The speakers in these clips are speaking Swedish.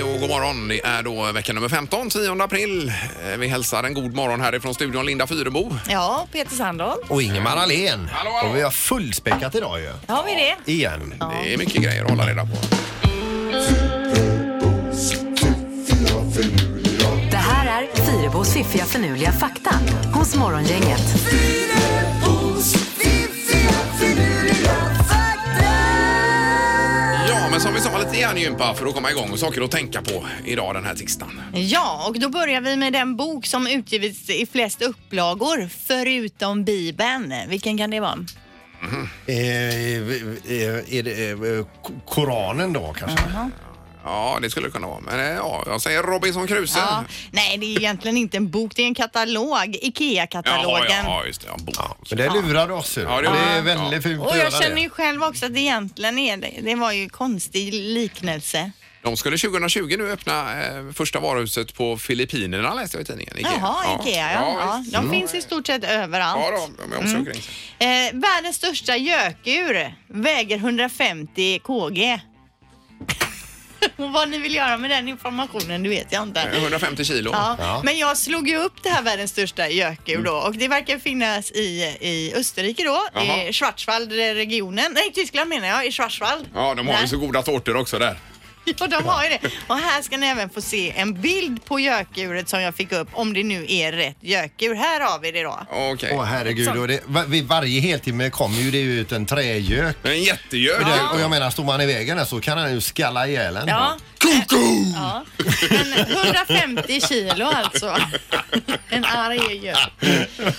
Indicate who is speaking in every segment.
Speaker 1: morgon. Det är då vecka nummer 15, 10 april. Eh, Vi hälsar en god morgon härifrån studion Linda Fyrebo.
Speaker 2: Ja, Peter Sandholt.
Speaker 3: Och Ingemar Ahlén.
Speaker 1: Hallå, hallå.
Speaker 3: Och vi har fullspäckat idag ju.
Speaker 2: Har vi det?
Speaker 3: Igen.
Speaker 1: Det är mycket grejer att hålla reda på.
Speaker 4: Det här är Fyrabos fiffiga förnuliga fakta hos Morgongänget.
Speaker 1: Ja, men som vi sa lite hjärngympa för att komma igång och saker att tänka på idag den här tisdagen.
Speaker 2: Ja, och då börjar vi med den bok som utgivits i flest upplagor, förutom Bibeln. Vilken kan det vara?
Speaker 3: Eh, eh, är det eh, K- Koranen då kanske?
Speaker 1: Ja, det skulle det kunna vara. Men eh, ja, jag säger Robinson Crusoe.
Speaker 2: Ja, nej, det är egentligen inte en bok, det är en katalog.
Speaker 1: Jaha, ja,
Speaker 2: IKEA-katalogen.
Speaker 1: ja, just det. Ja, bo-
Speaker 3: Men det lurade oss ju.
Speaker 1: Ja, det
Speaker 3: det,
Speaker 1: gjorde
Speaker 3: är
Speaker 1: det.
Speaker 3: väldigt fult
Speaker 2: Och
Speaker 3: att
Speaker 2: jag
Speaker 3: göra
Speaker 2: känner
Speaker 3: det.
Speaker 2: ju själv också att det egentligen är det. Det var ju konstig liknelse.
Speaker 1: De skulle 2020 nu öppna eh, första varuhuset på Filippinerna läste jag i tidningen. Ikea.
Speaker 2: Jaha, Ikea. Ja, ja,
Speaker 1: visst.
Speaker 2: de Mm. finns i stort sett överallt.
Speaker 1: Ja, då, de är också omkring sig.
Speaker 2: Eh, världens största gökur väger 150 kg. Och vad ni vill göra med den informationen, det vet jag
Speaker 1: Eh,
Speaker 2: inte.
Speaker 1: 150 kilo.
Speaker 2: Ja,
Speaker 3: Ja.
Speaker 2: Men jag slog ju upp det här världens största gökur
Speaker 1: Mm.
Speaker 2: då och det verkar finnas i, i Österrike då,
Speaker 1: Jaha.
Speaker 2: i Schwarzwaldregionen. Nej, Tyskland menar jag, i Schwarzwald.
Speaker 1: Ja, de har ju
Speaker 2: Där.
Speaker 1: så goda tårtor också där.
Speaker 2: Ja, de har ju det. Och här ska ni även få se en bild på gökuret som jag fick upp, om det nu är rätt gökur. Här har vi det då.
Speaker 1: Okej.
Speaker 3: Åh herregud. Och det, va- vid varje heltimme kommer ju det ut en trägök.
Speaker 1: En jättegök.
Speaker 3: Och det-
Speaker 1: Ja.
Speaker 3: Och jag menar, står man i vägen där så kan han ju skalla ihjäl en.
Speaker 2: Ja.
Speaker 1: Koko!
Speaker 2: Ja. Men 150 kilo alltså. En arg gök.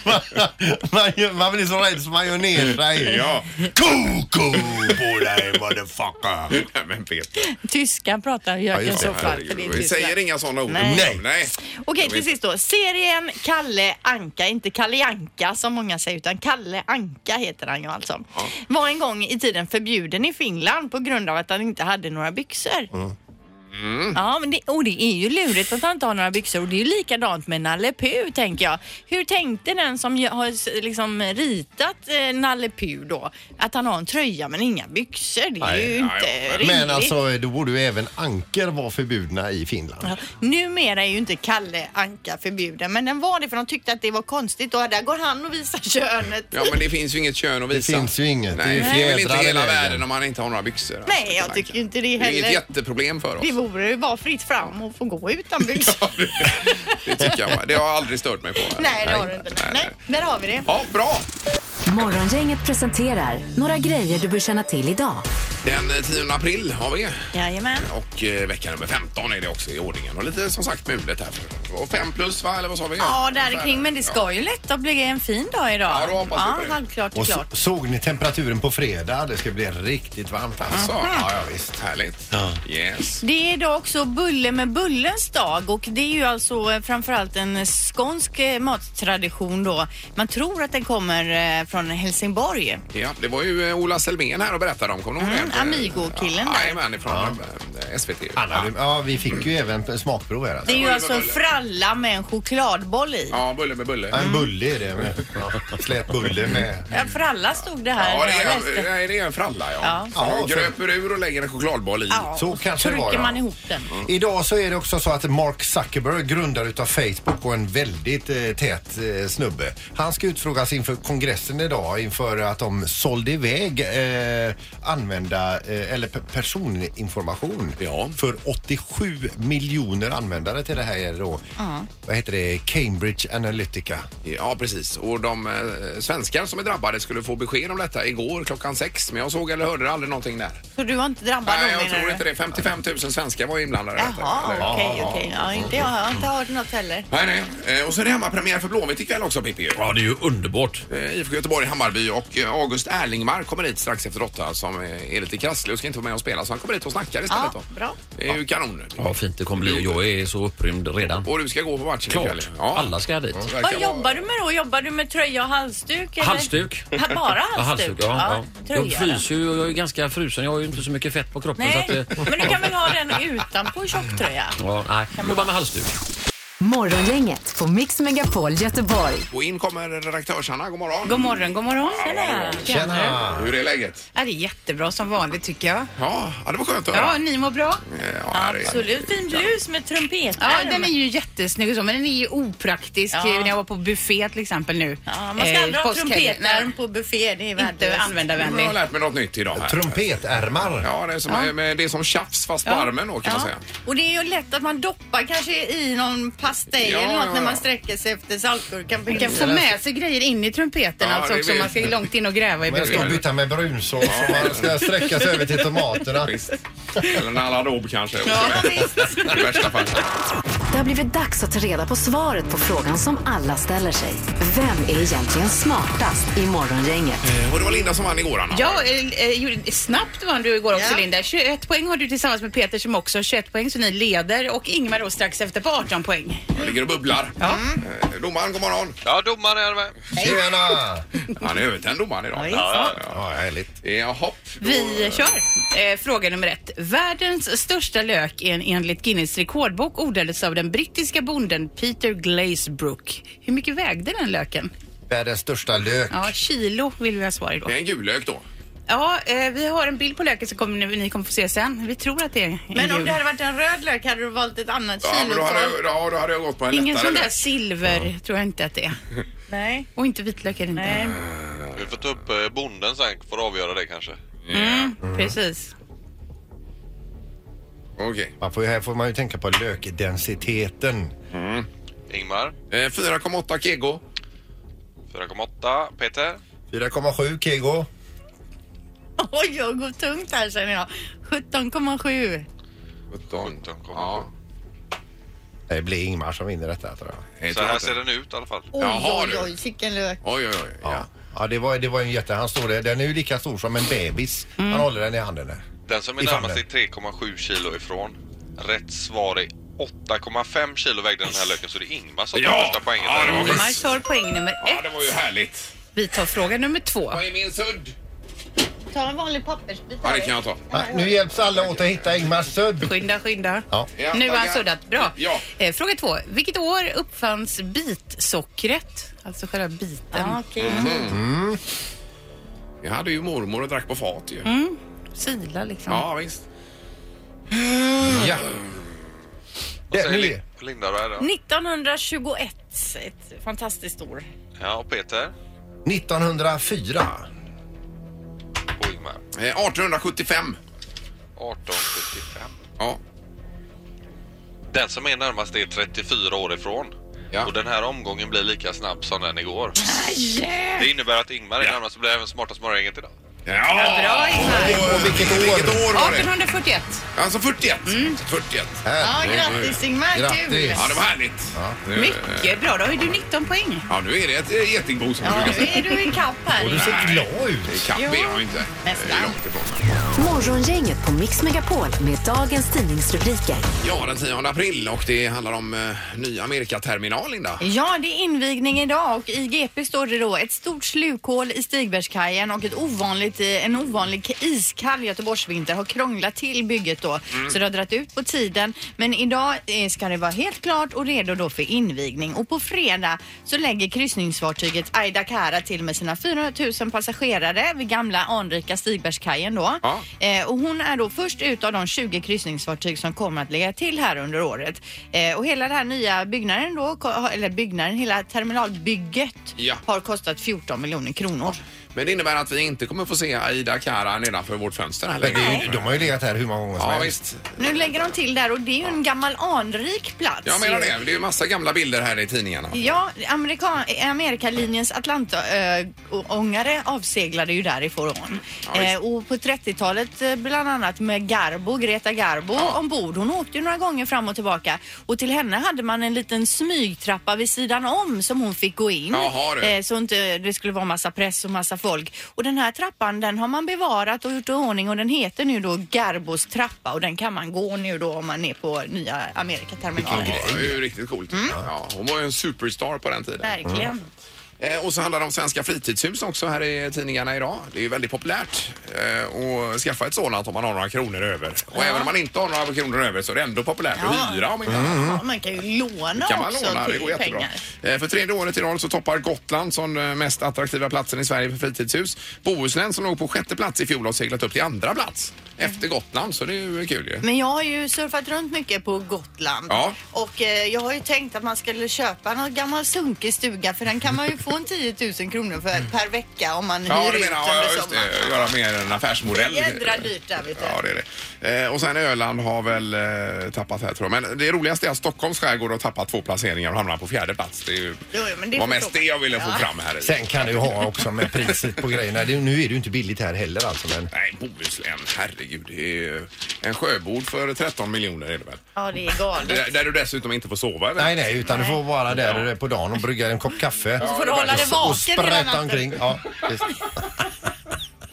Speaker 3: man, gör- man blir så rädd så man gör ner sig.
Speaker 1: Ja.
Speaker 3: Koko på dig motherfucker.
Speaker 1: Nej, Men Peter.
Speaker 2: Tyska pratar
Speaker 3: Ja,
Speaker 2: göken
Speaker 3: just det.
Speaker 2: så fall för det är
Speaker 1: Vi säger
Speaker 2: Tyskland.
Speaker 1: inga sådana ord.
Speaker 2: Nej.
Speaker 3: Nej.
Speaker 1: Nej.
Speaker 2: Okej, till sist då. Serien Kalle Anka, inte Kalle Anka som många säger, utan Kalle Anka heter han ju alltså. Var en gång i tiden förbjuden i Finland på grund av att han inte hade några byxor.
Speaker 3: Mm.
Speaker 2: Ja, men det, och det är ju lurigt att han inte har några byxor och det är ju likadant med Nalle Puh tänker jag. Hur tänkte den som ju har s- liksom ritat eh, Nalle Puh då? Att han har en tröja men inga byxor, det är
Speaker 3: Nej,
Speaker 1: ja,
Speaker 2: ju inte
Speaker 1: ja, men-
Speaker 2: rimligt.
Speaker 3: Men alltså, då borde ju även anker vara förbjudna i Finland.
Speaker 2: Ja, Numera är ju inte Kalle Anka förbjuden, men den var det för de tyckte att det var konstigt och där går han och visar könet.
Speaker 1: Ja, men det finns ju inget kön att visa.
Speaker 3: finns ju inget. Det är
Speaker 1: Nej,
Speaker 3: ju
Speaker 1: det är väl inte
Speaker 3: fjädrar i
Speaker 1: hela
Speaker 3: vägen.
Speaker 1: världen om man inte har några byxor. alltså,
Speaker 2: Nej, jag tycker inte det
Speaker 1: Det är inget
Speaker 2: heller.
Speaker 1: jätteproblem för oss.
Speaker 2: Det vore ju bara fritt fram och få gå utan byxor.
Speaker 1: Det tycker jag. Det har jag aldrig stört mig på.
Speaker 2: Nej, det har du inte. Nej, där har vi det.
Speaker 1: Ja, bra!
Speaker 4: Morgongänget presenterar några grejer du bör känna till idag.
Speaker 1: Den eh, 10 april har vi
Speaker 2: Jajamän.
Speaker 1: och eh, vecka nummer 15 är det också i ordningen. Och lite som sagt mulet här. Och 5 plus va, eller vad sa vi?
Speaker 2: Ja, där kring, men det ska ju lätt att bli en fin dag idag.
Speaker 1: Ja, då hoppas vi på det.
Speaker 2: halvklart och
Speaker 3: Och så,
Speaker 2: klart.
Speaker 3: såg ni temperaturen på fredag? Det ska bli riktigt varmt alltså.
Speaker 2: Mm.
Speaker 1: Så, ja, ja, visst. Härligt. Yes.
Speaker 2: Det är idag också bulle med bullens dag och det är ju alltså eh, framförallt en skånsk eh, mattradition då. Man tror att den kommer eh, från Helsingborg.
Speaker 1: Ja, det var ju eh, Ola Selmén här och berättade om. Kommer du ihåg
Speaker 2: Mm,
Speaker 1: det?
Speaker 2: Amigo-killen
Speaker 1: ja,
Speaker 2: där.
Speaker 1: Jajamän, ifrån eh, SVT.
Speaker 3: Han hade, ja, vi fick ju även smakprov här.
Speaker 2: Det
Speaker 3: Alltså.
Speaker 1: Bulle
Speaker 2: är ju alltså
Speaker 1: med
Speaker 2: en
Speaker 1: bulle.
Speaker 2: fralla med en chokladboll i.
Speaker 1: Ja, bulle med bulle.
Speaker 3: Ja,
Speaker 2: Mm.
Speaker 3: En bulle är det. Med, ja, slät bulle med.
Speaker 2: Ja, fralla stod det här
Speaker 1: Ja, det
Speaker 2: när jag
Speaker 1: är,
Speaker 2: läste.
Speaker 1: nej, det är en fralla, ja.
Speaker 2: Ja.
Speaker 1: ja.
Speaker 3: Ja, för-
Speaker 1: gröper ur och lägger en chokladboll i.
Speaker 2: Ja,
Speaker 3: Så
Speaker 2: och
Speaker 3: kanske det var,
Speaker 2: trycker
Speaker 3: ja.
Speaker 2: man ihop den.
Speaker 3: Mm. Idag så är det också så att Mark Zuckerberg, grundare utav Facebook och en väldigt eh, tät eh, snubbe. Han ska utfrågas inför kongressen idag inför att de sålde iväg eh, använda eh, eller pe- personinformation
Speaker 1: Ja.
Speaker 3: för 87 miljoner användare till det här då. Vad heter det? Cambridge Analytica.
Speaker 1: Ja, precis. Och de eh, svenskar som är drabbade skulle få besked om detta igår klockan sex. Men jag såg eller hörde aldrig någonting där.
Speaker 2: Så du var inte drabbad
Speaker 1: Nej,
Speaker 2: då
Speaker 1: jag
Speaker 2: menar
Speaker 1: tror
Speaker 2: du?
Speaker 1: inte det. 55 000 svenskar var inblandade. i detta.
Speaker 2: Jaha,
Speaker 1: Eller-
Speaker 2: okej, okej. Ja, inte jag. Jag har inte hört något heller.
Speaker 1: Nej, nej. Eh, Och så är det hemmapremiär för Blåvitt ikväll också, Pippi.
Speaker 5: Ja, det är ju underbart.
Speaker 1: Eh, IFK Göteborg, Hammarby och eh, August Erlingmark kommer hit strax efter åtta som eh, är lite krasslig och ska inte vara med och spela. Så han kommer hit och snackar istället
Speaker 2: Ja,
Speaker 1: då.
Speaker 2: bra.
Speaker 1: Det är ju kanon.
Speaker 5: Ja, fint det kommer bli. Jag är så upprymd redan.
Speaker 1: Och du ska gå på matchen
Speaker 5: Klart.
Speaker 1: Ja.
Speaker 5: Alla ska dit.
Speaker 1: Det verkar
Speaker 2: Vad
Speaker 1: vara-
Speaker 2: jobbar du med då? Jobbar du med tröja och halsduk? Eller?
Speaker 5: Halsduk.
Speaker 2: Ha, bara halsduk?
Speaker 5: Ja, halsduk. Ja, ja. Jag
Speaker 2: Tröja.
Speaker 5: fryser ju och jag är ganska frusen. Jag har ju inte så mycket fett på kroppen. Så att,
Speaker 2: Nej,
Speaker 5: eh,
Speaker 2: men du kan väl ha den utanpå tjocktröja?
Speaker 5: ja, nej. Jobbar med halsduk.
Speaker 4: Morgongänget på Mix Megapol Göteborg.
Speaker 1: Och in kommer redaktörs-Hanna. God morgon.
Speaker 6: God morgon, god morgon.
Speaker 3: Tjena!
Speaker 1: Hur är läget?
Speaker 6: Ja, det är jättebra som vanligt tycker jag.
Speaker 1: Ja, ja det var skönt att höra.
Speaker 6: Ja, ni mår bra?
Speaker 1: Eh, ja, här är-
Speaker 2: Absolut. Fin blus med trumpet.
Speaker 6: Ja, den är ju jättesnygg och så, men den är ju opraktisk.
Speaker 2: Ja.
Speaker 6: eh, När jag var på buffé till exempel nu.
Speaker 2: Ja, man ska aldrig ha
Speaker 6: påskhelgen.
Speaker 2: trumpetlarm på buffé. Det är
Speaker 6: Nej, inte
Speaker 2: värdelöst.
Speaker 1: Jag
Speaker 6: användarvänlig.
Speaker 1: har lärt mig något nytt idag. Här.
Speaker 3: Trumpetärmar.
Speaker 1: Ja, det är som, men det är som tjafs fast på armen då kan man säga.
Speaker 2: Och det är ju lätt att man doppar kanske i någon pastej
Speaker 1: Ja,
Speaker 2: eller
Speaker 1: ja,
Speaker 2: något
Speaker 1: ja.
Speaker 2: när man sträcker sig efter saltgurkan. på
Speaker 6: Man kan få
Speaker 2: himlen.
Speaker 6: med sig grejer in i trumpeten
Speaker 1: Ja,
Speaker 6: alltså
Speaker 1: det
Speaker 6: också.
Speaker 1: vet-
Speaker 6: Man ska ju långt in och gräva i
Speaker 3: Man ska
Speaker 6: busken.
Speaker 3: byta med brunsås och man ska sträcka sig över till tomaterna.
Speaker 1: Visst. Eller en alarm kanske. Ja, I värsta fall.
Speaker 4: Det har blivit dags att ta reda på svaret på frågan som alla ställer sig. Vem är egentligen smartast i Morgongänget?
Speaker 1: Och det var Linda som vann igår, Anna.
Speaker 6: Ja, eh, eh, gjorde- snabbt vann du igår också
Speaker 2: Ja.
Speaker 6: Linda. 21 poäng har du tillsammans med Peter som också har 21 poäng så ni leder och Ingmar då strax efter på 18 poäng.
Speaker 1: Jag ligger och bubblar. Ja. Domaren, god morgon.
Speaker 7: Ja, domaren är med.
Speaker 3: Tjena!
Speaker 1: Han är övertänd domaren idag.
Speaker 7: Ja,
Speaker 3: Ja, härligt.
Speaker 1: Ja, hopp. Då-
Speaker 6: Vi kör. Eh, fråga nummer ett. Världens största lök en, enligt Guinness rekordbok odlades av den brittiska bonden Peter Glazebrook. Hur mycket vägde den löken?
Speaker 3: Världens största lök.
Speaker 6: Ja, kilo vill vi ha svar i då.
Speaker 1: Det är en gul lök då.
Speaker 6: Ja, eh, vi har en bild på löken som kommer, ni- ni kommer få se sen. Vi tror att det är en
Speaker 2: Men om
Speaker 6: gul.
Speaker 2: det hade varit en röd lök hade du valt ett annat
Speaker 1: Ja, men då hade,
Speaker 2: kilotal?
Speaker 1: jag, ja, då hade jag gått på en
Speaker 6: Ingen
Speaker 1: lättare
Speaker 6: sån där
Speaker 1: lök.
Speaker 6: silver tror jag inte att det är.
Speaker 2: Nej.
Speaker 6: Och inte vitlök är det inte.
Speaker 2: Nej.
Speaker 7: Vi får ta upp eh, bonden sen för att avgöra det kanske.
Speaker 1: Mm.
Speaker 6: Precis.
Speaker 1: Okej.
Speaker 3: Man får, ju- här får man ju tänka på lökdensiteten.
Speaker 7: Ingmar,
Speaker 1: Eh, 4,8 kego.
Speaker 7: 4,8. Peter,
Speaker 3: 4,7 kg.
Speaker 2: Oj, jag går tungt här känner jag. 17,7.
Speaker 1: 17.
Speaker 7: 17,7.
Speaker 1: Ja.
Speaker 3: Det blir Ingmar som vinner detta tror jag.
Speaker 1: Hej,
Speaker 7: så här
Speaker 1: tomten.
Speaker 7: ser den ut i alla fall.
Speaker 2: Oj,
Speaker 1: Eh, Jaha,
Speaker 2: oj,
Speaker 1: du.
Speaker 2: oj, vilken lök.
Speaker 1: Oj, oj, oj. Ja.
Speaker 3: Ja. Ja, det var, det var en jätte... Han står där. Den är ju lika stor som en bebis. Han håller den i handen där.
Speaker 7: Den som är
Speaker 3: I
Speaker 7: närmast
Speaker 3: famnen.
Speaker 7: är 3,7 kilo ifrån. Rätt svar är 8,5 kilo vägde den här löken så det är Ingmar som tar
Speaker 1: Ja.
Speaker 7: första poängen.
Speaker 1: Ja, det var
Speaker 7: där.
Speaker 1: skönt.
Speaker 6: Ingmar tar poäng nummer
Speaker 1: ja,
Speaker 6: ett.
Speaker 1: det var ju härligt.
Speaker 6: Vi tar fråga nummer två.
Speaker 1: Vad är min sudd?
Speaker 2: Ta en vanlig pappersbit.
Speaker 1: Ja, det kan jag ta.
Speaker 3: Ja, nu hjälps alla åt att hitta Ingmars sudd.
Speaker 6: Skynda, skynda.
Speaker 3: Ja.
Speaker 1: Ja,
Speaker 6: nu har han
Speaker 1: tackar.
Speaker 6: suddat. Bra.
Speaker 1: Ja.
Speaker 6: Eh, fråga två. Vilket år uppfanns bitsockret? Alltså själva biten.
Speaker 2: Ja, okej.
Speaker 1: Mhm. Jag hade ju mormor och drack på fat ju.
Speaker 6: Sila liksom.
Speaker 1: Ja, visst.
Speaker 3: ja.
Speaker 7: Vad säger
Speaker 3: Den är-
Speaker 7: Lin- Linda vad är det?
Speaker 2: 1921. Ett fantastiskt år.
Speaker 7: Ja, och Peter
Speaker 3: 1904.
Speaker 7: och Ingmar.
Speaker 1: Eh, 1875.
Speaker 7: 1875.
Speaker 1: Ja.
Speaker 7: Den som är närmast är 34 år ifrån.
Speaker 1: Ja.
Speaker 7: Och den här omgången blir lika snabb som den igår. Det innebär att Ingmar är närmast och blir även smartast morgongänget idag.
Speaker 1: Ja!
Speaker 6: Bra Ingmar.
Speaker 3: Och vilket år!
Speaker 1: Vilket år var det?
Speaker 6: 1841.
Speaker 1: Alltså 41. 41.
Speaker 2: Ja,
Speaker 3: Här.
Speaker 2: grattis Ingmar. Kul.
Speaker 3: Grattis.
Speaker 1: Ja, det var härligt. Nu, eh,
Speaker 6: Mycket bra. Då har ju du 19 poäng.
Speaker 1: Ja, nu är det ett eh, getingbo som
Speaker 2: Ja,
Speaker 1: brukar
Speaker 2: nu
Speaker 1: säga.
Speaker 2: är du i kapp här.
Speaker 3: Och du ser glad ut.
Speaker 1: Kapp är jag inte.
Speaker 2: nästan.
Speaker 1: Det är långt ifrån.
Speaker 4: Morgongänget på Mix Megapol med dagens tidningsrubriker.
Speaker 1: Ja, den 10 april och det handlar om eh, ny Amerikaterminal, Linda.
Speaker 2: Ja, det är invigning idag och i GP står det då ett stort slukhål i Stigbergskajen och ett ovanligt, eh, en ovanlig iskall Göteborgsvinter har krånglat till bygget då.
Speaker 3: Mm.
Speaker 2: Så det har dragit ut på tiden. Men idag eh, ska det vara helt klart och redo då för invigning. Och på fredag så lägger kryssningsfartyget Aida Kara till med sina 400 000 passagerare vid gamla anrika Stigbergskajen då.
Speaker 1: Ja.
Speaker 2: Eh, och hon är då först ut av de 20 kryssningsfartyg som kommer att lägga till här under året. Eh, och hela den här nya byggnaden då, ko- eller byggnaden, hela terminalbygget
Speaker 1: Ja.
Speaker 2: har kostat 14 miljoner kronor.
Speaker 1: Men det innebär att vi inte kommer få se Aida Kara nedanför vårt fönster här
Speaker 3: Men det är
Speaker 1: längre.
Speaker 3: ju, de har ju legat här hur många gånger som
Speaker 1: Ja,
Speaker 3: helst.
Speaker 1: visst.
Speaker 2: Nu lägger de till där och det är ju en gammal anrik plats.
Speaker 1: Jag menar
Speaker 2: ju.
Speaker 1: det. Det är ju massa gamla bilder här i tidningarna.
Speaker 2: Ja, Amerika, Amerikalinjens Atlantångare avseglade ju därifrån.
Speaker 1: Ja, visst.
Speaker 2: eh, och på 30-talet eh, bland annat med Garbo, Greta Garbo ombord. Hon åkte ju några gånger fram och tillbaka och till henne hade man en liten smygtrappa vid sidan om som hon fick gå in.
Speaker 1: Jaha, du.
Speaker 2: Eh, så inte det skulle vara massa press och massa folk. Och den här trappan den har man bevarat och gjort i ordning och den heter nu då Garbos trappa och den kan man gå nu då om man är på nya Amerikaterminalen.
Speaker 3: Mm.
Speaker 1: Ja, det är ju riktigt coolt. Ja, hon var ju en superstar på den tiden.
Speaker 2: Verkligen.
Speaker 1: Eh, och så handlar det om svenska fritidshus också här i tidningarna idag. Det är ju väldigt populärt eh, att skaffa ett sådant om man har några kronor över. Och även om man inte har några kronor över så är det ändå populärt
Speaker 2: Ja.
Speaker 1: att hyra om inte annat.
Speaker 2: Ja, man kan ju låna
Speaker 1: kan man
Speaker 2: också
Speaker 1: låna. Det
Speaker 2: till
Speaker 1: går jättebra.
Speaker 2: pengar.
Speaker 1: Eh, För tredje året i rad så toppar Gotland som eh, mest attraktiva platsen i Sverige för fritidshus. Bohuslän som låg på sjätte plats i fjol har seglat upp till andra plats efter Gotland så det är ju kul ju.
Speaker 2: Men jag har ju surfat runt mycket på Gotland.
Speaker 1: Ja.
Speaker 2: Och eh, jag har ju tänkt att man skulle köpa någon gammal sunkig stuga för den kan man ju få en 10 000 kronor för per vecka om man
Speaker 1: Mm. Ja,
Speaker 2: hyr
Speaker 1: det
Speaker 2: ut
Speaker 1: menar jag. Ja,
Speaker 2: under
Speaker 1: just
Speaker 2: sommaren.
Speaker 1: det. Göra mer en affärsmodell.
Speaker 2: Jädra dyrt där, vet du.
Speaker 1: Ja, det är det. Eh, Och sen Öland har väl eh, tappat här tror jag. Men det roligaste är att Stockholms skärgård har tappat två placeringar och hamnar på fjärde plats. Det är ju,
Speaker 2: Jo, jo, men det
Speaker 1: var
Speaker 2: förstår
Speaker 1: mest
Speaker 2: man.
Speaker 1: det jag ville få
Speaker 2: Ja.
Speaker 1: fram här.
Speaker 3: Sen kan du ha också med priset på grejerna. Det- Nu är det ju inte billigt här heller alltså. Men...
Speaker 1: Nej, Bohuslän, herregud. Det är ju en sjöbord för 13 miljoner är det väl?
Speaker 2: Ja, det är galet.
Speaker 1: Eh, Där, där du dessutom inte får sova eller?
Speaker 3: Nej, nej, utan du får vara där på dagen och brygga en kopp kaffe.
Speaker 2: Så får du hålla dig
Speaker 3: och
Speaker 2: vaken hela
Speaker 3: sprätta
Speaker 2: natten.
Speaker 3: omkring. Ja, visst.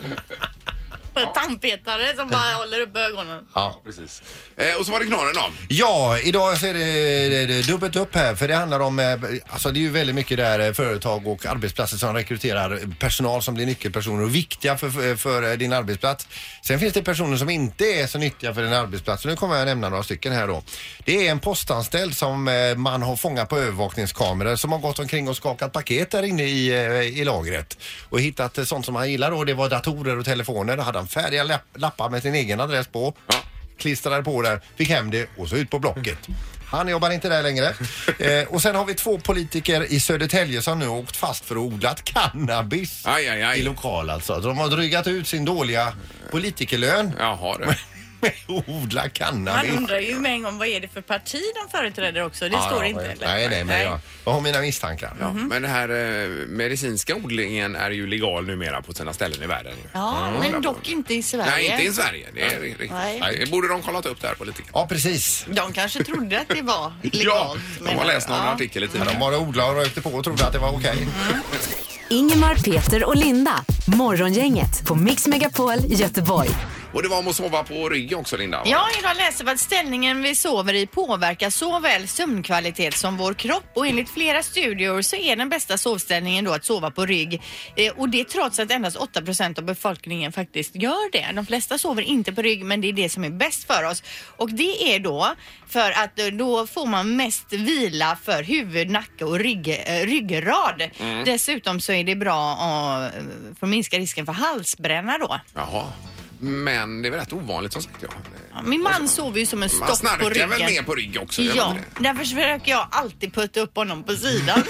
Speaker 2: En Tandpetare som bara håller upp ögonen.
Speaker 3: ja.
Speaker 1: Precis. Eh, och så var det knorren då.
Speaker 3: ja, idag så är det, det, det dubbelt upp här för det handlar om, eh, alltså det är ju väldigt mycket där eh, företag och arbetsplatser som rekryterar personal som blir nyckelpersoner och viktiga för, för, för eh, din arbetsplats. Sen finns det personer som inte är så nyttiga för din arbetsplats. Så Nu kommer jag nämna några stycken här då. Det är en postanställd som eh, man har fångat på övervakningskameror som har gått omkring och skakat paket där inne i, eh, i lagret och hittat eh, sånt som han gillar då. Det var datorer och telefoner. Då hade han färdiga lapp, lappar med sin egen adress på klistrade på där, fick hem det och så ut på Blocket. Han jobbar inte där längre. Eh, och sen har vi två politiker i Södertälje som nu har åkt fast för att ha odlat cannabis
Speaker 1: Aj, aj, aj.
Speaker 3: i lokal alltså. De har drygat ut sin dåliga politikerlön
Speaker 1: Jaha du.
Speaker 3: med att odla cannabis.
Speaker 2: Man undrar ju med en gång vad är det för parti de företräder också. Det
Speaker 3: Ja,
Speaker 2: står
Speaker 3: ja,
Speaker 2: inte.
Speaker 3: men-
Speaker 2: eller?
Speaker 3: Nej, nej, men jag, jag har mina misstankar.
Speaker 1: Ja, Men den här eh, medicinska odlingen är ju legal numera på sina ställen i världen. ju. Mm.
Speaker 2: Ja, men dock inte i Sverige.
Speaker 1: Nej, inte i Sverige. Det är riktigt.
Speaker 2: Nej.
Speaker 1: Nej, Det borde de kollat upp där på lite grann.
Speaker 3: Ja, precis.
Speaker 2: De kanske trodde att det var
Speaker 1: Ja,
Speaker 2: legalt.
Speaker 1: de har
Speaker 2: men-
Speaker 1: läst någon
Speaker 2: ja. Mm.
Speaker 1: artikel i
Speaker 3: Men de
Speaker 1: tidningen.
Speaker 3: bara odlade och rökte på och trodde att det var okej.
Speaker 4: Ingemar, Peter och Linda. Morgongänget på Mix Megapol Göteborg.
Speaker 1: Och det var om att sova på rygg också, Linda. va?
Speaker 2: Ja, idag läser vi att ställningen vi sover i påverkar såväl sömnkvalitet som vår kropp och enligt flera studier så är den bästa sovställningen då att sova på rygg. Eh, och det trots att endast 8 av befolkningen faktiskt gör det. De flesta sover inte på rygg men det är det som är bäst för oss. Och det är då för att eh, då får man mest vila för huvud, nacke och rygg, eh, ryggrad.
Speaker 1: Mm.
Speaker 2: Dessutom så är det bra eh, för att minska risken för halsbränna då.
Speaker 1: Jaha. Men det är väl rätt ovanligt som sagt. Ja.
Speaker 2: Ja, Min man sover ju som en
Speaker 1: Alltså, Man
Speaker 2: stock på
Speaker 1: snarkar
Speaker 2: ryggen.
Speaker 1: väl ner på rygg också? gör
Speaker 2: Ja,
Speaker 1: man inte
Speaker 2: därför försöker jag alltid putta upp honom på sidan.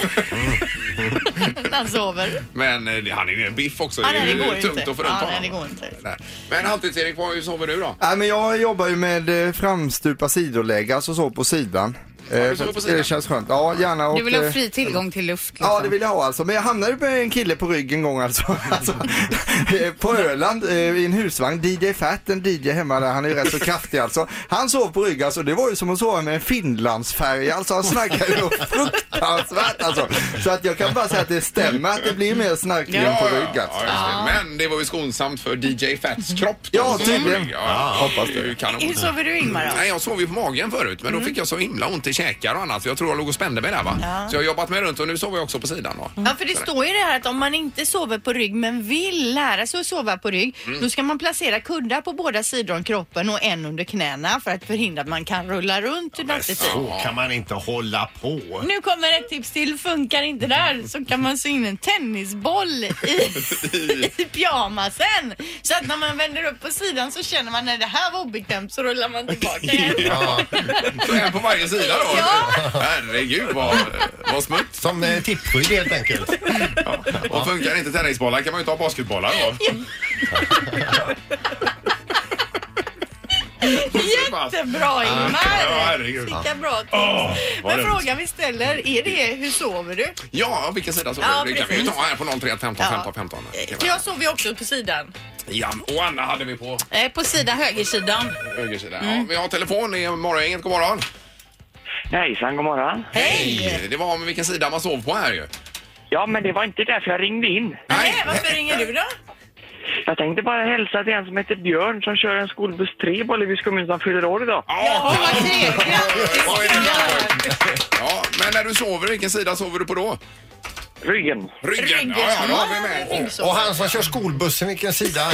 Speaker 2: När han sover.
Speaker 1: det? Men eh, det- han är ju en biff också.
Speaker 2: Ja,
Speaker 1: är
Speaker 2: nej,
Speaker 1: ju
Speaker 2: det går
Speaker 1: tungt
Speaker 2: inte.
Speaker 1: att få runt
Speaker 2: Ja,
Speaker 1: honom.
Speaker 2: nej, det går inte.
Speaker 1: Nej. Men Halvtids-Erik, vad- hur sover du då?
Speaker 8: Nej, men jag jobbar ju med eh, framstupa sidoläge, alltså så på sidan.
Speaker 1: du
Speaker 8: Eh,
Speaker 1: sover på
Speaker 8: så att Det
Speaker 1: sidan?
Speaker 8: känns skönt. Ja, gärna. Och,
Speaker 6: Du vill ha
Speaker 8: eh,
Speaker 6: fri tillgång till luft liksom.
Speaker 8: Ja, det vill jag ha alltså. Men jag hamnade med en kille på ryggen en gång alltså. alltså eh, på Öland eh, i en husvagn. DJ Fat, en DJ hemma där, han är ju rätt så kraftig alltså. Han sov på rygg alltså. Det var ju som att sova med en finlandsfärja alltså. Han snackade ju fruktansvärt alltså. Så att jag kan bara säga att det stämmer att det blir mer snarkning på rygg
Speaker 1: ja,
Speaker 8: alltså.
Speaker 1: just det. Men det var ju skonsamt för DJ Fats kropp. då,
Speaker 8: Ja,
Speaker 1: som var på
Speaker 8: tydligen.
Speaker 1: rygg.
Speaker 8: Ja, hoppas
Speaker 1: det. är ju kanon.
Speaker 2: Hur sover du Ingmar då?
Speaker 1: Nej, jag sov ju på magen förut, men då fick jag så himla ont i käkar och annat. Jag tror jag låg och spände mig där va. Så jag har jobbat mig runt och nu sover jag också på sidan då.
Speaker 2: Ja, för det står ju det här att om man inte sover på rygg men vill lära sig att sova på rygg
Speaker 1: Mm.
Speaker 2: då ska man placera kuddar på båda sidor om kroppen och en under knäna för att förhindra att man kan rulla runt nattetid.
Speaker 3: Så kan man inte hålla på.
Speaker 2: Nu kommer ett tips till. Funkar inte där så kan man sy in en tennisboll i, i pyjamasen. Så att när man vänder upp på sidan så känner man när det här var obekvämt så rullar man tillbaka igen.
Speaker 3: Ja,
Speaker 1: Så en på varje sida då.
Speaker 2: Ja.
Speaker 1: Herregud vad, vad smutt.
Speaker 3: som eh, tippskydd helt enkelt.
Speaker 1: Och funkar inte tennisbollar kan man ju ta basketbollar då.
Speaker 2: Jättebra
Speaker 1: Ja,
Speaker 2: Ingmar!
Speaker 1: herregud.
Speaker 2: Vilka bra
Speaker 1: Åh,
Speaker 2: tips.
Speaker 1: vad
Speaker 2: Men
Speaker 1: dumt.
Speaker 2: frågan vi ställer är det hur sover du?
Speaker 1: Ja, vilken sida sover
Speaker 2: Ja,
Speaker 1: du? Det kan vi ju
Speaker 2: precis.
Speaker 1: ta här på 031 15 15 15.
Speaker 2: Eh, För jag sover ju också på sidan.
Speaker 1: Ja, och Anna hade vi på
Speaker 6: Eh, På sida högersidan.
Speaker 1: högersidan.
Speaker 2: Mm.
Speaker 1: Ja, vi har telefon i morgongänget. God morgon.
Speaker 9: Hejsan, god morgon.
Speaker 1: Hej! Det var om vilken sida man sov på här ju.
Speaker 9: Ja, men det var inte därför jag ringde in.
Speaker 2: Nej, varför ringer du då?
Speaker 9: Jag tänkte bara hälsa till en som heter Björn som kör en skolbuss 3 på Levis kommun som fyller år idag.
Speaker 1: Ja,
Speaker 2: Vad trevligt!
Speaker 1: vad är det där? Ja, men när du sover, vilken sida sover du på då?
Speaker 9: Ryggen.
Speaker 1: Ryggen.
Speaker 2: Ryggen.
Speaker 1: Ja, ja, då har vi
Speaker 2: Ja,
Speaker 1: med.
Speaker 2: jag tänkte så.
Speaker 3: Och han som kör skolbussen, vilken sida?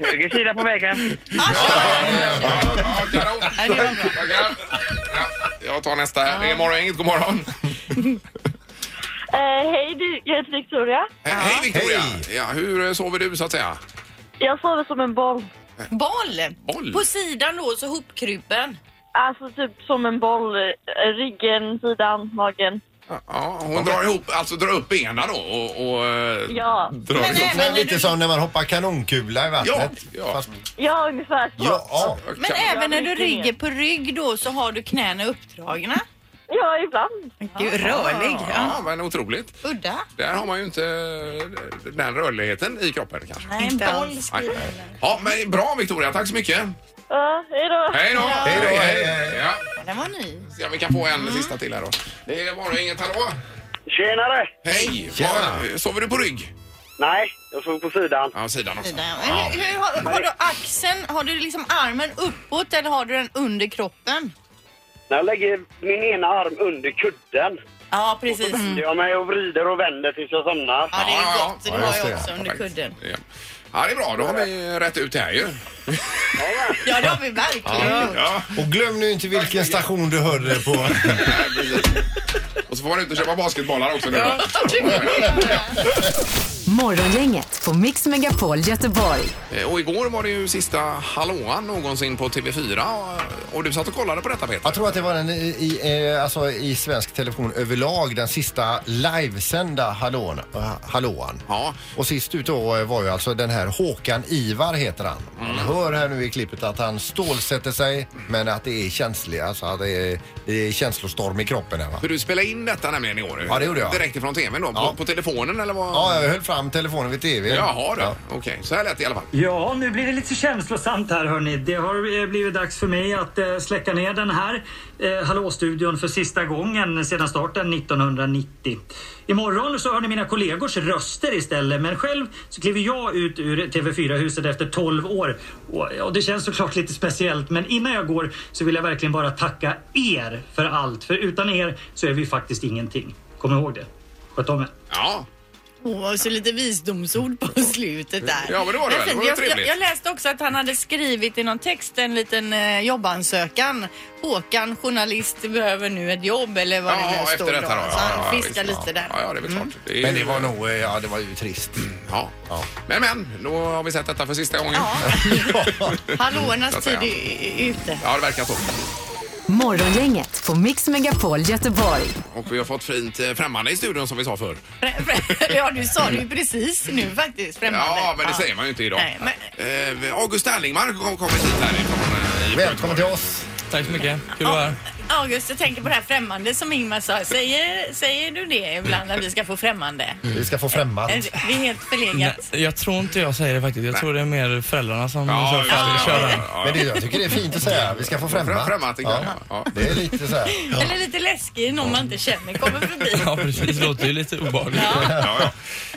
Speaker 9: Höger sida på vägen.
Speaker 1: Ja, ja, kanon. Tackar. Ja, Jag tar nästa. här. Det är morgongänget. God morgon.
Speaker 10: hej, du. jag heter Victoria.
Speaker 1: Eh, Hej Victoria.
Speaker 3: Hej.
Speaker 1: Ja, hur eh, sover du så att säga?
Speaker 10: Jag sover som en boll.
Speaker 2: Boll.
Speaker 1: Boll.
Speaker 2: På sidan då, så hopkrupen.
Speaker 10: Alltså typ som en boll. Eh, Ryggen, sidan, magen.
Speaker 1: Ja, hon drar ihop, alltså drar upp benen då och, och eh,
Speaker 10: Ja.
Speaker 1: drar
Speaker 2: Men,
Speaker 1: ihop.
Speaker 2: eh, när
Speaker 3: Men lite
Speaker 2: du-
Speaker 3: som när man hoppar kanonkula i vattnet.
Speaker 1: Ja, ja.
Speaker 3: Fast,
Speaker 10: Ja, ungefär så.
Speaker 3: ja, ja.
Speaker 2: Men
Speaker 1: Kan-
Speaker 2: även när du
Speaker 10: mycket mer.
Speaker 2: ligger på rygg då så har du knäna uppdragna.
Speaker 10: Ja, ibland.
Speaker 6: Gud, rörlig. Ja.
Speaker 1: Ja, men otroligt.
Speaker 2: Udda.
Speaker 1: Där har man ju inte eh, den rörligheten i kroppen kanske.
Speaker 2: Nej, en
Speaker 6: Inte
Speaker 2: boll.
Speaker 6: alls.
Speaker 1: Nej. Ja, men bra Victoria, tack så mycket.
Speaker 10: Ja, hej då.
Speaker 1: Hej då!
Speaker 3: Hej då, hej, hej.
Speaker 1: Ja,
Speaker 2: Den var ny.
Speaker 1: se om vi kan få en sista till här då. Det var inget hallå!
Speaker 9: Tjenare!
Speaker 1: Hej!
Speaker 3: Tjena.
Speaker 1: Var, sover du på rygg?
Speaker 9: Nej, jag såg på sidan.
Speaker 1: Ja, sidan också.
Speaker 2: Sidan. Men hur, hur, har, har du axeln, har du liksom armen uppåt eller har du den under kroppen?
Speaker 9: När jag lägger min ena arm under kudden
Speaker 1: Mm.
Speaker 2: Ja, precis.
Speaker 9: vänder jag mig och vrider och vänder tills jag somnar.
Speaker 2: Ja, det
Speaker 1: Ja,
Speaker 2: är
Speaker 1: ja,
Speaker 2: gott. Det
Speaker 1: ja.
Speaker 3: Ja,
Speaker 2: har
Speaker 3: just det.
Speaker 2: jag också under kudden.
Speaker 1: Ja. ja, det är bra. Då har vi rätt ut det här ju.
Speaker 2: Ja, det har vi verkligen gjort.
Speaker 1: Ja.
Speaker 3: Och glöm nu inte vilken station du hörde det på.
Speaker 1: Och så får man ut och köpa basketbollar också nu. då.
Speaker 4: Morgongänget på Mix Megapol Göteborg.
Speaker 1: Eh, Och igår var det ju sista hallåan någonsin på TV4 och- och du satt och kollade på detta Peter.
Speaker 3: Jag tror att det var den i, i, eh, alltså, i svensk television överlag, den sista livesända hallån, äh, hallåan.
Speaker 1: Ja.
Speaker 3: Och sist ut då eh, var ju alltså den här Håkan Ivar heter han. Man hör här nu i klippet att han stålsätter sig men att det är känsligt, alltså att det är, det är känslostorm i kroppen här va.
Speaker 1: För du spelade in detta nämligen igår.
Speaker 3: Ja, det gjorde jag.
Speaker 1: Direkt ifrån TVn då?
Speaker 3: Ja.
Speaker 1: På, på telefonen eller vad?
Speaker 3: Ja, jag höll fram telefonen vid TV.
Speaker 1: Jaha du. Okej, så här lät det i alla fall.
Speaker 9: Ja, nu blir det lite känslosamt här hörni. Det har eh, blivit dags för mig att eh, släcka ner den här eh, Hallå-studion för sista gången sedan starten 1990. Imorgon så hör ni mina kollegors röster istället men själv så kliver jag ut ur TV4-huset efter 12 år. Och, ja, det känns såklart lite speciellt men innan jag går så vill jag verkligen bara tacka er för allt. För utan er så är vi faktiskt ingenting. Kom ihåg det. Sköt om er.
Speaker 1: Ja.
Speaker 2: Åh, så lite visdomsord på slutet där.
Speaker 1: Ja, men det var det väl.
Speaker 2: fint.
Speaker 1: Det var
Speaker 2: jag,
Speaker 1: trevligt.
Speaker 2: jag, jag läste också att han hade skrivit i någon text en liten eh, jobbansökan. Håkan, journalist, behöver nu ett jobb eller vad det nu
Speaker 1: Ja, efter
Speaker 2: stod.
Speaker 1: detta då.
Speaker 2: Så
Speaker 1: Ja, ja,
Speaker 2: han fiskar
Speaker 1: visst.
Speaker 2: lite där. Mm.
Speaker 1: Ja, ja, det är väl klart. är
Speaker 3: Men det
Speaker 1: ju-
Speaker 3: var nog, eh, ja det var ju trist.
Speaker 1: Ja.
Speaker 3: Ja.
Speaker 1: Men men, då har vi sett detta för sista gången. Ja, Så att
Speaker 2: Hallåornas tid
Speaker 1: säga.
Speaker 2: är är ute.
Speaker 1: det verkar så.
Speaker 4: Morgongänget på Mix Megapol Göteborg.
Speaker 1: Och vi har fått fint eh, främmande i studion som vi sa förr.
Speaker 2: Frä- frä- Ja, du sa det ju precis nu faktiskt. Främmande.
Speaker 1: Ja, men det säger man ju inte idag.
Speaker 2: Nej, men-
Speaker 1: Eh, August Erlingmark har kommit hit härifrån. eh, i
Speaker 3: Välkommen till
Speaker 1: Göteborg.
Speaker 3: oss.
Speaker 5: Tack så mycket. Kul att vara här.
Speaker 2: August, jag tänker på det här främmande som Ingmar sa. Säger, säger du det ibland när vi ska få främmande?
Speaker 3: Vi ska få främmande.
Speaker 2: Det är helt förlegat.
Speaker 5: Jag tror inte jag säger det faktiskt. Jag tror det är mer föräldrarna som
Speaker 1: Ja, ja, ja, ja, ja.
Speaker 3: Men det, jag tycker det är fint att säga. Vi ska få främma.
Speaker 1: Främma, tycker jag. Ja.
Speaker 3: Det är lite så här.
Speaker 2: Eller lite läskig, någon man inte känner kommer förbi.
Speaker 5: precis. Det låter ju lite obehagligt.
Speaker 1: Ja, ja.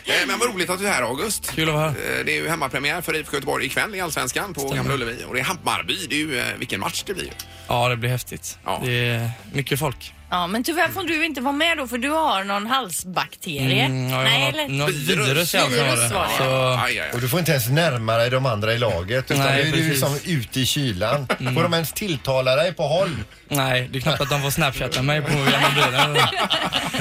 Speaker 1: Eh, Men vad roligt att du är här August.
Speaker 5: Kul att vara
Speaker 1: Eh, Det är ju hemmapremiär för IFK Göteborg ikväll i Allsvenskan på Gamla Ullevi. Och det är Hammarby. Det är ju, eh, vilken match det blir. ju.
Speaker 5: Ja, det blir häftigt.
Speaker 1: Ja.
Speaker 5: Det är mycket folk.
Speaker 2: Ja, men tyvärr får du inte vara med då för du har någon halsbakterie.
Speaker 5: Mm, ja,
Speaker 2: Nej,
Speaker 5: jag har
Speaker 2: eller?
Speaker 5: något virus i alla fall.
Speaker 2: Virus var det.
Speaker 5: Så-
Speaker 1: Aj, aj,
Speaker 3: Och
Speaker 1: aj.
Speaker 3: du får inte ens närma dig de andra i laget. Utan
Speaker 5: Nej,
Speaker 3: Nej, du är ju
Speaker 5: precis. Mm.
Speaker 3: som ute i kylan. Får de ens tilltala dig på håll?
Speaker 5: Nej, det är knappt att de får snapchatta mig på gamla bilen.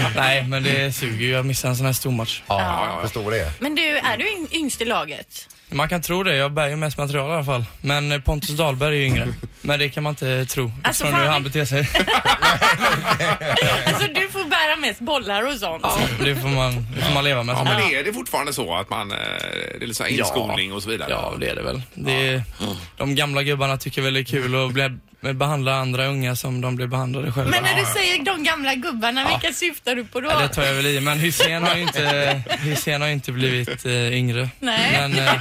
Speaker 5: Nej, men det suger ju. Jag missar en sån här stor match.
Speaker 3: Ja, jag förstår det.
Speaker 2: Men du, är du yng- yngst i laget?
Speaker 5: Man kan tro det. Jag bär ju mest material i alla fall. Men eh, Pontus Dahlberg är ju yngre. Men det kan man inte tro.
Speaker 2: Alltså,
Speaker 5: Från hur
Speaker 2: fan.
Speaker 5: han beter sig.
Speaker 2: Alltså du får bära mest bollar och sånt.
Speaker 5: Det får man, det får man leva med.
Speaker 1: Ja, men är det fortfarande så att man... eh, Det är lite så här inskolning och så vidare?
Speaker 5: Ja, det är det väl. Det är, de gamla gubbarna tycker väl det är kul att bli, behandla andra unga som de blir behandlade själva.
Speaker 2: Men när du säger de gamla gubbarna, vilka syftar du på då?
Speaker 5: Ja, det tar jag väl i, men Hussein har ju inte, Hussein har ju inte blivit eh, yngre.
Speaker 2: Nej.
Speaker 5: Men, eh,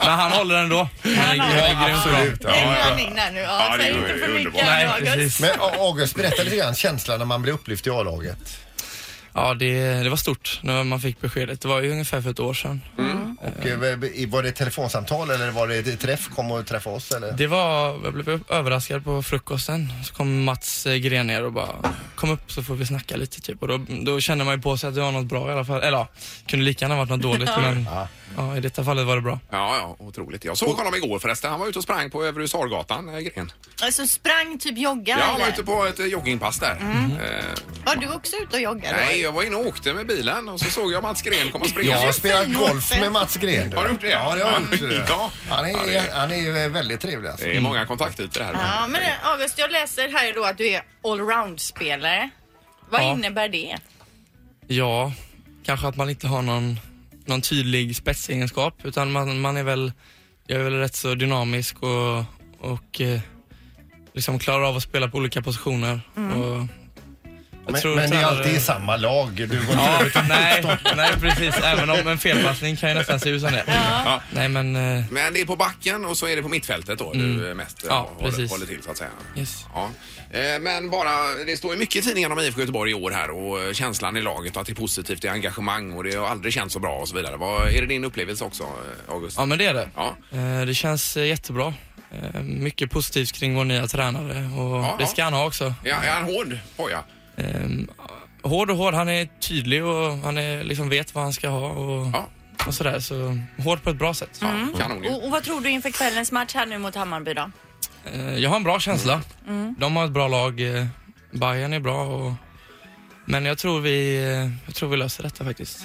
Speaker 5: men han håller ändå. Han är, han är grymt bra.
Speaker 3: Absolut. Ja.
Speaker 2: Det är en blandning där nu. Ja,
Speaker 1: Ja, det
Speaker 2: säg
Speaker 1: är
Speaker 2: inte för mycket
Speaker 1: underbart.
Speaker 5: Nej,
Speaker 2: August.
Speaker 5: precis.
Speaker 3: Men A- August, berätta lite grann känslan när man blir upplyft i A-laget.
Speaker 5: Ja, det, det var stort när man fick beskedet. Det var ju ungefär för ett år sedan.
Speaker 3: Och, eh, var det ett telefonsamtal eller var det ett träff? Kom och träffa oss eller?
Speaker 5: Det var, jag blev överraskad på frukosten. Så kom Mats eh, Gren ner och bara, kom upp så får vi snacka lite typ. Och då, då kände man ju på sig att det var något bra i alla fall. Eller ja, kunde lika gärna varit något dåligt
Speaker 1: Ja.
Speaker 5: men ja, i detta fallet var det bra.
Speaker 1: Ja, ja, otroligt. Jag såg honom igår förresten. Han var ute och sprang på Övre Husargatan, eh, Gren.
Speaker 2: Alltså sprang, typ
Speaker 1: Ja,
Speaker 2: jogga
Speaker 1: han var
Speaker 2: eller?
Speaker 1: ute på ett eh, joggingpass där.
Speaker 2: Mm.
Speaker 1: Eh,
Speaker 2: Var du också ute och joggade?
Speaker 1: Nej, jag var inne och åkte med bilen och så såg jag Mats Gren komma och springa.
Speaker 3: Jag har spelat golf med Mats Gren. du.
Speaker 1: Har du gjort det?
Speaker 3: Ja, det har jag gjort.
Speaker 1: Ja.
Speaker 3: Han
Speaker 1: Ja,
Speaker 3: är,
Speaker 1: det-
Speaker 3: han är ju väldigt trevlig alltså.
Speaker 5: Mm.
Speaker 1: Det är många kontaktytor här.
Speaker 2: Ja, men eh, August, jag läser här då att du är allround-spelare. Vad
Speaker 5: Ja.
Speaker 2: innebär det?
Speaker 5: Ja, kanske att man inte har någon, någon tydlig spetsegenskap utan man, man är väl, jag är väl rätt så dynamisk och, och eh, liksom klarar av att spela på olika positioner.
Speaker 3: Mm.
Speaker 5: Och jag
Speaker 3: Men,
Speaker 5: tror
Speaker 3: men det är
Speaker 5: tränare-
Speaker 3: alltid i samma lag. Du går
Speaker 5: Ja,
Speaker 3: inte utan
Speaker 5: nej, nej, precis. Även om en felpassning kan ju nästan se ut som det.
Speaker 1: Ja.
Speaker 5: Nej, men... eh,
Speaker 1: Men det är på backen och så är det på mittfältet då du
Speaker 5: Mm.
Speaker 1: eh, mest eh,
Speaker 5: Ja,
Speaker 1: håller,
Speaker 5: precis.
Speaker 1: håller till så att säga.
Speaker 5: Yes.
Speaker 1: Ja. Eh, Men bara, det står ju mycket i tidningarna om IFK Göteborg i år här och eh, känslan i laget och att det är positivt, det är engagemang och det har aldrig känts så bra och så vidare. Vad, är det din upplevelse också, eh, August?
Speaker 5: Ja, men det är det.
Speaker 1: Ja.
Speaker 5: Eh, Det känns eh, jättebra. Eh, Mycket positivt kring vår nya tränare och det ska han ha också.
Speaker 1: Ja, är han hård? Oh, ja.
Speaker 5: Ehm, Hård och hård. Han är tydlig och han är, liksom vet vad han ska ha och, och sådär. Så hård på ett bra sätt.
Speaker 2: Mm. och, och vad tror du inför kvällens match här nu mot Hammarby då?
Speaker 5: Eh, Jag har en bra känsla.
Speaker 2: Mm.
Speaker 5: De har ett bra lag. eh, Bayern är bra. Och, men jag tror, vi, eh, jag tror vi löser detta faktiskt.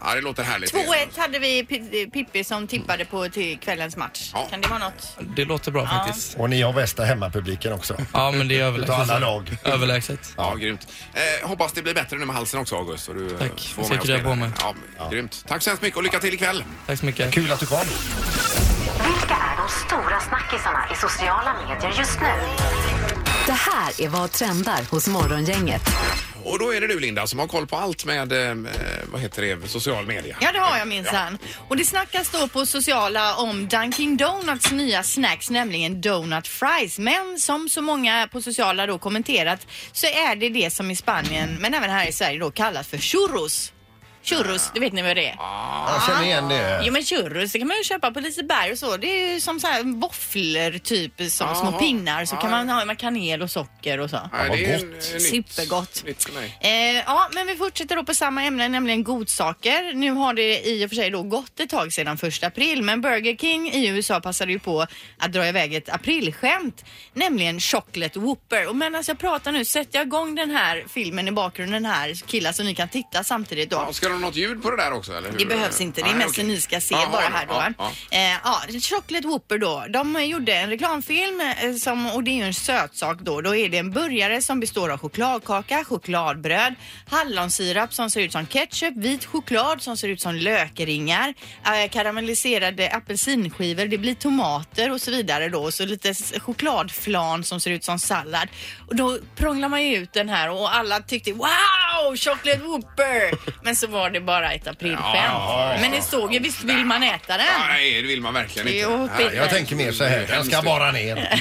Speaker 1: Ja, det låter härligt.
Speaker 2: 2-1 hade vi P- Pippi som tippade på till kvällens match. Kan det vara något?
Speaker 5: Det låter bra faktiskt.
Speaker 3: Och ni har bästa hemmapubliken också.
Speaker 5: Ja, men det är
Speaker 3: Utav
Speaker 5: överlägset.
Speaker 3: alla lag.
Speaker 5: Överlägset.
Speaker 1: Ja, grymt. Eh, hoppas det blir bättre nu med halsen också, August. Och du eh,
Speaker 5: Tack.
Speaker 1: får
Speaker 5: Jag
Speaker 1: vara
Speaker 5: ska krya
Speaker 1: med och
Speaker 5: på mig.
Speaker 1: spela. Ja, Grymt. Tack så hemskt mycket och lycka till ikväll.
Speaker 5: Tack så mycket.
Speaker 3: Kul att du kom.
Speaker 4: Vilka är de stora snackisarna i sociala medier just nu? Det här är vad trendar hos Morgongänget.
Speaker 1: Och då är det du, Linda, som har koll på allt med, eh, vad heter det, social media.
Speaker 2: Ja, det har jag minsann. Och det snackas då på sociala om Dunkin' Donuts nya snacks, nämligen Donut Fries. Men som så många på sociala då kommenterat så är det det som i Spanien, men även här i Sverige då kallas för churros. Churros, det vet ni vad det är?
Speaker 3: Jag känner igen det.
Speaker 2: Jo men churros, det kan man ju köpa på Liseberg och så. Det är ju som så här våfflor typ, som
Speaker 1: Jaha.
Speaker 2: små pinnar. Så
Speaker 1: Ja,
Speaker 2: kan man ha med kanel och socker och så.
Speaker 1: Ja, det är en- en nytt-
Speaker 2: Supergott.
Speaker 1: nytt för mig.
Speaker 2: Eh, ja, men vi fortsätter då på samma ämne, nämligen godsaker. Nu har det i och för sig då gått ett tag sedan första april, men Burger King i USA passade ju på att dra iväg ett aprilskämt, nämligen Chocolate Whopper. Och medan jag pratar nu sätter jag igång den här filmen i bakgrunden här, killar, så ni kan titta samtidigt då.
Speaker 1: Ja, ska du ha något ljud på det där också? Eller hur?
Speaker 2: Det behövs inte, det är
Speaker 1: Nej,
Speaker 2: mest
Speaker 1: okej.
Speaker 2: ni ska se
Speaker 1: Jaha,
Speaker 2: bara här då.
Speaker 1: ja,
Speaker 2: va? Eh, ja, Chocolate Whopper då. De eh, gjorde en reklamfilm eh, som, och det är ju en sötsak då. Då är det en burgare som består av chokladkaka, chokladbröd, hallonsirap som ser ut som ketchup, vit choklad som ser ut som lökringar, eh, karamelliserade apelsinskivor, det blir tomater och så vidare då. Och så lite s- chokladflan som ser ut som sallad. Och då prånglar man ju ut den här och alla tyckte wow, Chocolate Whopper! Men så var det bara ett aprilskämt.
Speaker 1: Ja, ja, ja.
Speaker 2: Men ni såg ju, visst vill man äta den?
Speaker 1: Nej, det vill man verkligen inte.
Speaker 2: Jo,
Speaker 1: Nej,
Speaker 2: Peter. Jag tänker
Speaker 3: mer så här, den ska bara ner.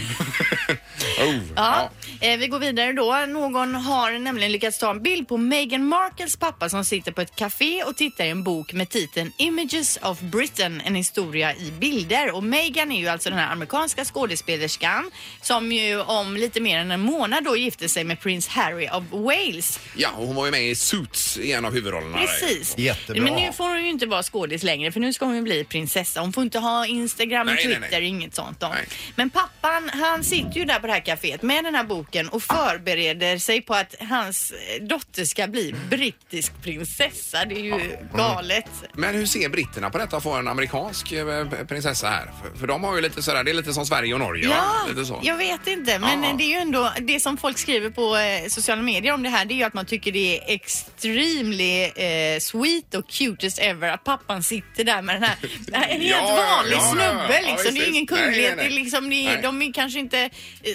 Speaker 1: oh.
Speaker 2: Ja, eh, vi går vidare då. Någon har nämligen lyckats ta en bild på Meghan Markles pappa som sitter på ett café och tittar i en bok med titeln Images of Britain, en historia i bilder. Och Meghan är ju alltså den här amerikanska skådespelerskan som ju om lite mer än en månad då gifte sig med prins Harry av Wales.
Speaker 1: Ja, och hon var ju med i Suits i en av huvudrollerna. där.
Speaker 2: Precis. Men nu får hon ju inte vara skådis längre för nu ska hon ju bli prinsessa. Hon får inte ha Instagram och
Speaker 1: Nej, nej,
Speaker 2: Twitter,
Speaker 1: nej.
Speaker 2: inget sånt. Då. Men pappan, han sitter ju där på det här kaféet med den här boken och förbereder sig på att hans dotter ska bli brittisk prinsessa. Det är ju
Speaker 1: Mm.
Speaker 2: galet.
Speaker 1: Men hur ser britterna på detta att få en amerikansk eh, prinsessa här? För, för de har ju lite sådär, det är lite som Sverige och Norge va? Lite så.
Speaker 2: jag vet inte. Men
Speaker 1: Ja.
Speaker 2: det är ju ändå det som folk skriver på eh, sociala medier om det här. Det är ju att man tycker det är extremely eh, sweet och cutest ever att pappan sitter där med den här. En helt
Speaker 10: Ja, ja,
Speaker 2: vanlig
Speaker 10: ja, ja.
Speaker 2: snubbe
Speaker 10: Ja,
Speaker 2: liksom.
Speaker 10: visst,
Speaker 2: det är ingen
Speaker 10: visst. Nej,
Speaker 2: kunglighet.
Speaker 10: nej, nej.
Speaker 2: Det är liksom, det är,
Speaker 1: Nej.
Speaker 2: de är kanske inte eh,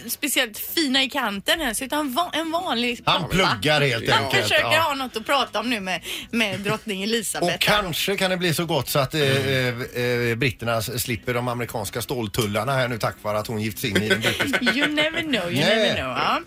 Speaker 2: speciellt fina i kanten ens utan va- en vanlig
Speaker 3: Han pluggar helt
Speaker 2: Han
Speaker 3: enkelt,
Speaker 2: försöker
Speaker 3: ja.
Speaker 2: ha något att prata om nu med, med drottning Elisabeth.
Speaker 3: Och kanske kan det bli så gott så att eh,
Speaker 2: Mm.
Speaker 3: eh, eh, britterna s- slipper de amerikanska ståltullarna här nu tack vare att hon gifts in i den brittiska.
Speaker 2: You never know, you
Speaker 3: Nej.
Speaker 2: never know. Ja.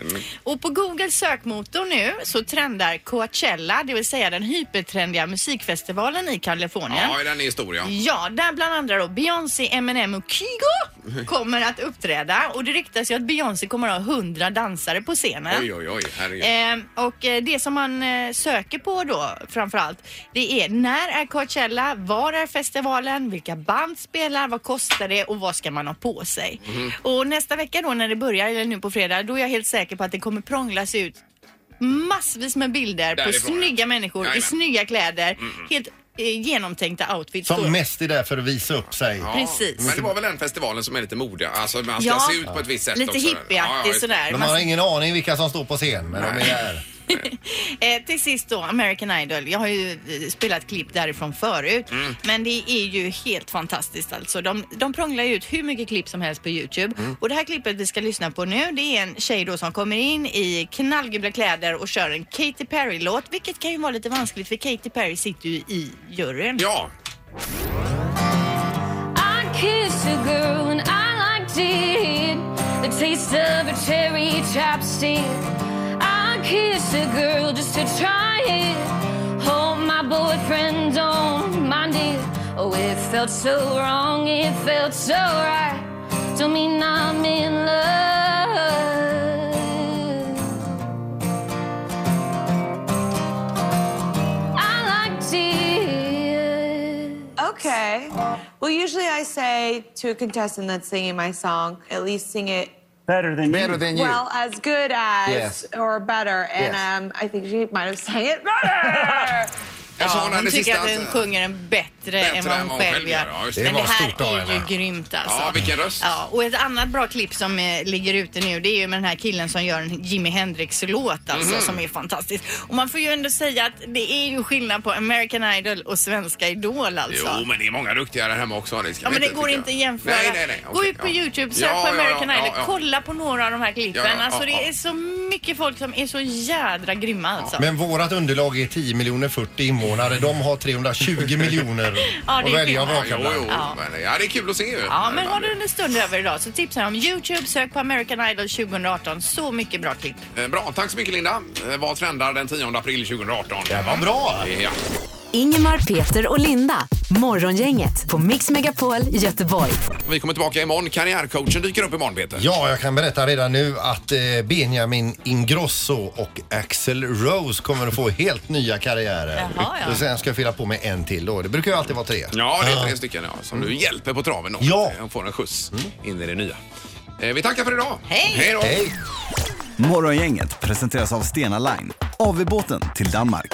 Speaker 2: Och på Googles sökmotor nu så trendar Coachella, det vill säga den hypertrendiga musikfestivalen i Kalifornien.
Speaker 1: Ja, den är stor ja.
Speaker 2: Ja, där bland andra då Beyoncé, Eminem och Kygo kommer att uppträda och det ryktas ju att Beyoncé kommer att ha 100 dansare på scenen.
Speaker 1: Oj, oj, oj. Herregud.
Speaker 2: Eh, och eh, det som man eh, söker på då framförallt det är när är Coachella, var är festivalen, vilka band spelar, vad kostar det och vad ska man ha på sig?
Speaker 1: Mhm.
Speaker 2: Och nästa vecka då när det börjar, eller nu på fredag, då är jag helt säker på att det kommer prånglas ut massvis med bilder på
Speaker 1: Därifrån, ja.
Speaker 2: snygga människor i
Speaker 1: Jajamän. Mhm.
Speaker 2: snygga kläder, helt eh, genomtänkta outfits. då.
Speaker 3: Som mest är där för att visa upp sig.
Speaker 1: Ja,
Speaker 2: precis.
Speaker 1: Men det var väl den festivalen som är lite modiga. Alltså man ska
Speaker 2: Ja,
Speaker 1: se ut på ett visst sätt
Speaker 2: Lite
Speaker 1: också. Ja, ja,
Speaker 2: hippieaktigt
Speaker 1: just det.
Speaker 2: sådär.
Speaker 3: De
Speaker 2: Man-
Speaker 3: har ingen aning vilka som står på scen men de är där.
Speaker 2: Eh, till sist då, American Idol. Jag har ju eh, spelat klipp därifrån förut.
Speaker 1: Mm.
Speaker 2: Men det är ju helt fantastiskt alltså. De, de prånglar ju ut hur mycket klipp som helst på Youtube.
Speaker 1: Mm.
Speaker 2: Och det här klippet vi ska lyssna på nu, det är en tjej då som kommer in i knallgula kläder och kör en Katy Perry-låt. Vilket kan ju vara lite vanskligt för Katy Perry sitter ju i juryn.
Speaker 1: Ja,
Speaker 4: I kissed a girl and I liked it. The taste of a cherry chapstick. I kissed a girl just to try it. Oh, my boyfriend don't mind it. Oh, it felt so wrong, it felt so right. Don't mean I'm in love. I liked it.
Speaker 6: Okay. Well, usually I say to a contestant that's singing my song, at least sing it
Speaker 11: Better than you.
Speaker 5: than
Speaker 6: well, as good as
Speaker 5: Yes.
Speaker 6: or better. And
Speaker 5: Yes.
Speaker 6: um, I think she might have sang it better.
Speaker 1: jag sa
Speaker 2: Ja,
Speaker 1: hon
Speaker 2: hon
Speaker 1: hade
Speaker 2: tycker
Speaker 1: sista...
Speaker 2: att hon sjunger den bättre, än vad hon själv gör.
Speaker 1: Ja, just det.
Speaker 2: Men
Speaker 3: var
Speaker 2: det här
Speaker 3: stort av
Speaker 2: är
Speaker 3: henne.
Speaker 2: ju grymt alltså.
Speaker 1: Ja, vilken röst.
Speaker 2: Ja, och ett annat bra klipp som eh, ligger ute nu det är ju med den här killen som gör en Jimi Hendrix-låt alltså
Speaker 1: Mhm.
Speaker 2: som är fantastisk. Och man får ju ändå säga att det är ju skillnad på American Idol och Svenska Idol alltså.
Speaker 1: Jo, men det är många duktiga där hemma också. Det ska
Speaker 2: Ja
Speaker 1: vi
Speaker 2: men det går
Speaker 1: tycka.
Speaker 2: inte att jämföra.
Speaker 1: Nej, nej, nej.
Speaker 2: Gå
Speaker 1: Okej,
Speaker 2: ut på
Speaker 1: ja.
Speaker 2: Youtube, sök
Speaker 1: Ja,
Speaker 2: på
Speaker 1: ja, ja,
Speaker 2: American
Speaker 1: ja,
Speaker 2: Idol,
Speaker 1: ja.
Speaker 2: kolla på några av de här klippen.
Speaker 1: Ja, ja, ja,
Speaker 2: alltså det
Speaker 1: ja.
Speaker 2: är så mycket folk som är så jädra grymma alltså.
Speaker 3: Men vårat underlag är 10 miljoner 40 invånare. De har 320 miljoner
Speaker 2: Ja, det
Speaker 3: att
Speaker 2: är
Speaker 3: välja och
Speaker 2: skillnad.
Speaker 3: vraka
Speaker 1: Ja, jo, jo.
Speaker 3: bland.
Speaker 2: Ja.
Speaker 1: Men, eh, ja, det är kul att se ju.
Speaker 2: Ja, men har du en stund över idag så tipsar jag om Youtube, sök på American Idol 2018. Så mycket bra klipp.
Speaker 1: Eh, Bra, tack så mycket Linda. Eh, Vad trendar den 10 april 2018?
Speaker 3: Det var bra!
Speaker 1: Ja.
Speaker 12: Ingemar, Peter och Linda. Morgongänget på Mix Megapol Göteborg.
Speaker 1: Vi kommer tillbaka imorgon. Karriärcoachen dyker upp imorgon Peter.
Speaker 3: Ja, jag kan berätta redan nu att eh, Benjamin Ingrosso och Axel Rose kommer att få helt nya karriärer.
Speaker 2: Jaha, ja.
Speaker 3: Och sen ska jag fylla på med en till då. Det brukar ju alltid vara tre.
Speaker 1: Ja, det är tre stycken ja, som du hjälper på traven. Då.
Speaker 3: Mm. Ja.
Speaker 1: Och får en skjuts in i det nya. Eh, Vi tackar för idag.
Speaker 2: Hej!
Speaker 1: Hej då!
Speaker 3: Hej!
Speaker 8: Morgongänget presenteras av Stena Line, AV-båten till Danmark.